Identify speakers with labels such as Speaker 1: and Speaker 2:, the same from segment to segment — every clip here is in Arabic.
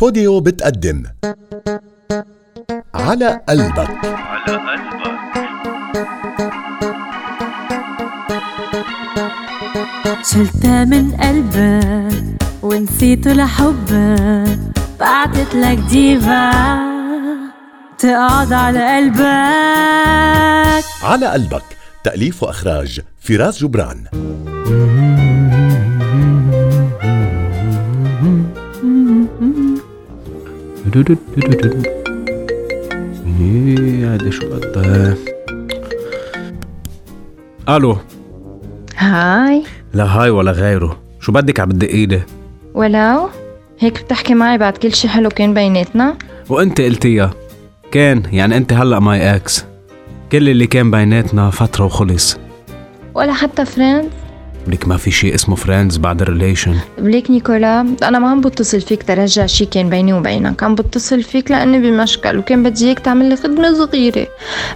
Speaker 1: بوديو بتقدم على قلبك
Speaker 2: على قلبك
Speaker 3: شلته من قلبك ونسيته لحبك بعتت لك ديفا تقعد على قلبك
Speaker 1: على قلبك تأليف وإخراج فراس جبران
Speaker 4: إيه، ايه هذا شو قطة الو
Speaker 5: هاي
Speaker 4: لا هاي ولا غيره شو بدك عم بدقي لي
Speaker 5: ولو هيك بتحكي معي بعد كل شي حلو كان بيناتنا
Speaker 4: وانت قلتيها كان يعني انت هلا ماي اكس كل اللي كان بيناتنا فترة وخلص
Speaker 5: ولا حتى فريند
Speaker 4: لك ما في شيء اسمه فريندز بعد الريليشن
Speaker 5: بليك نيكولا انا ما عم بتصل فيك ترجع شي كان بيني وبينك عم بتصل فيك لاني بمشكل وكان بدي اياك تعمل لي خدمه صغيره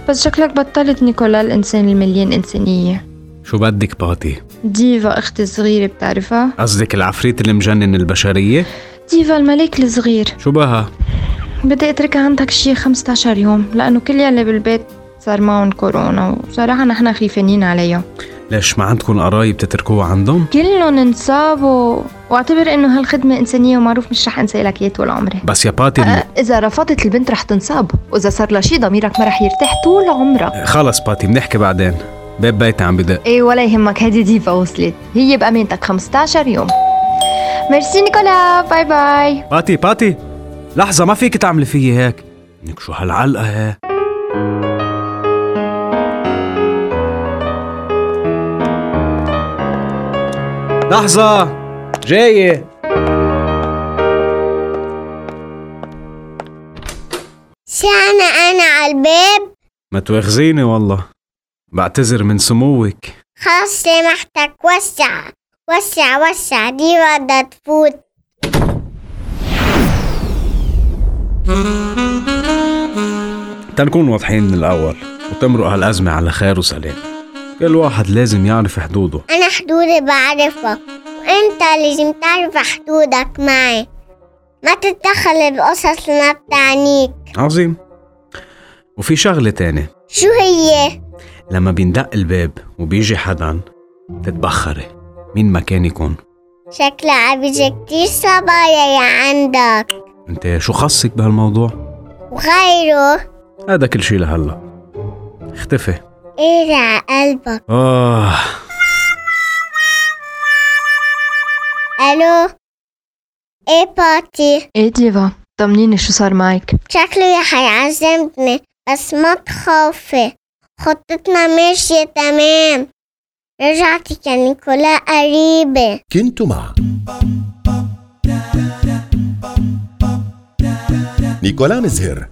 Speaker 5: بس شكلك بطلت نيكولا الانسان المليان انسانيه
Speaker 4: شو بدك باتي
Speaker 5: ديفا اختي الصغيره بتعرفها
Speaker 4: قصدك العفريت اللي مجنن البشرية
Speaker 5: ديفا الملك الصغير
Speaker 4: شو بها
Speaker 5: بدي اتركها عندك شي 15 يوم لانه كل يلي بالبيت صار معهم كورونا وصراحه نحن خيفانين عليها
Speaker 4: ليش ما عندكم قرايب تتركوها عندهم
Speaker 5: كلهم انصابوا واعتبر انه هالخدمة انسانية ومعروف مش رح انسى لك اياه طول عمري
Speaker 4: بس يا باتي
Speaker 5: أه، اذا رفضت البنت رح تنصاب واذا صار لها شي ضميرك ما رح يرتاح طول عمرها
Speaker 4: خلص باتي بنحكي بعدين باب بيتي عم بدق
Speaker 5: ايه ولا يهمك هدي ديفا وصلت هي بامانتك 15 يوم ميرسي نيكولا باي باي
Speaker 4: باتي باتي لحظة ما فيك تعملي فيي هيك انك شو هالعلقة هي لحظة جاية
Speaker 6: شأن أنا على الباب
Speaker 4: ما تواخذيني والله بعتذر من سموك
Speaker 6: خلاص سامحتك وسع وسع وسع دي بدها تفوت
Speaker 4: تنكون واضحين من الأول وتمرق هالأزمة على خير وسلام كل واحد لازم يعرف حدوده
Speaker 6: أنا حدودي بعرفك وأنت لازم تعرف حدودك معي ما تتدخل بقصص ما بتعنيك
Speaker 4: عظيم وفي شغلة تانية
Speaker 6: شو هي؟
Speaker 4: لما بيندق الباب وبيجي حدا تتبخري مين ما كان يكون
Speaker 6: شكلها عبيجة كتير صبايا يا عندك
Speaker 4: انت شو خصك بهالموضوع
Speaker 6: وغيره
Speaker 4: هذا كل شي لهلا اختفي
Speaker 6: إيه على قلبك
Speaker 4: اه
Speaker 6: ألو إيه باتي
Speaker 5: ايه ديفا طمنيني شو صار معك
Speaker 6: شكله هيعذبني بس ما تخافي خطتنا ماشية تمام رجعتي يا نيكولا قريبة
Speaker 1: كنت مع نيكولا مزهر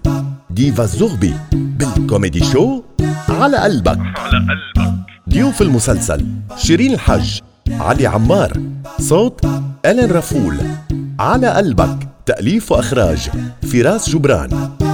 Speaker 1: ديفا الزغبي بالكوميدي شو على قلبك
Speaker 2: على قلبك
Speaker 1: ضيوف المسلسل شيرين الحج علي عمار صوت ألين رفول على قلبك تأليف وإخراج فراس جبران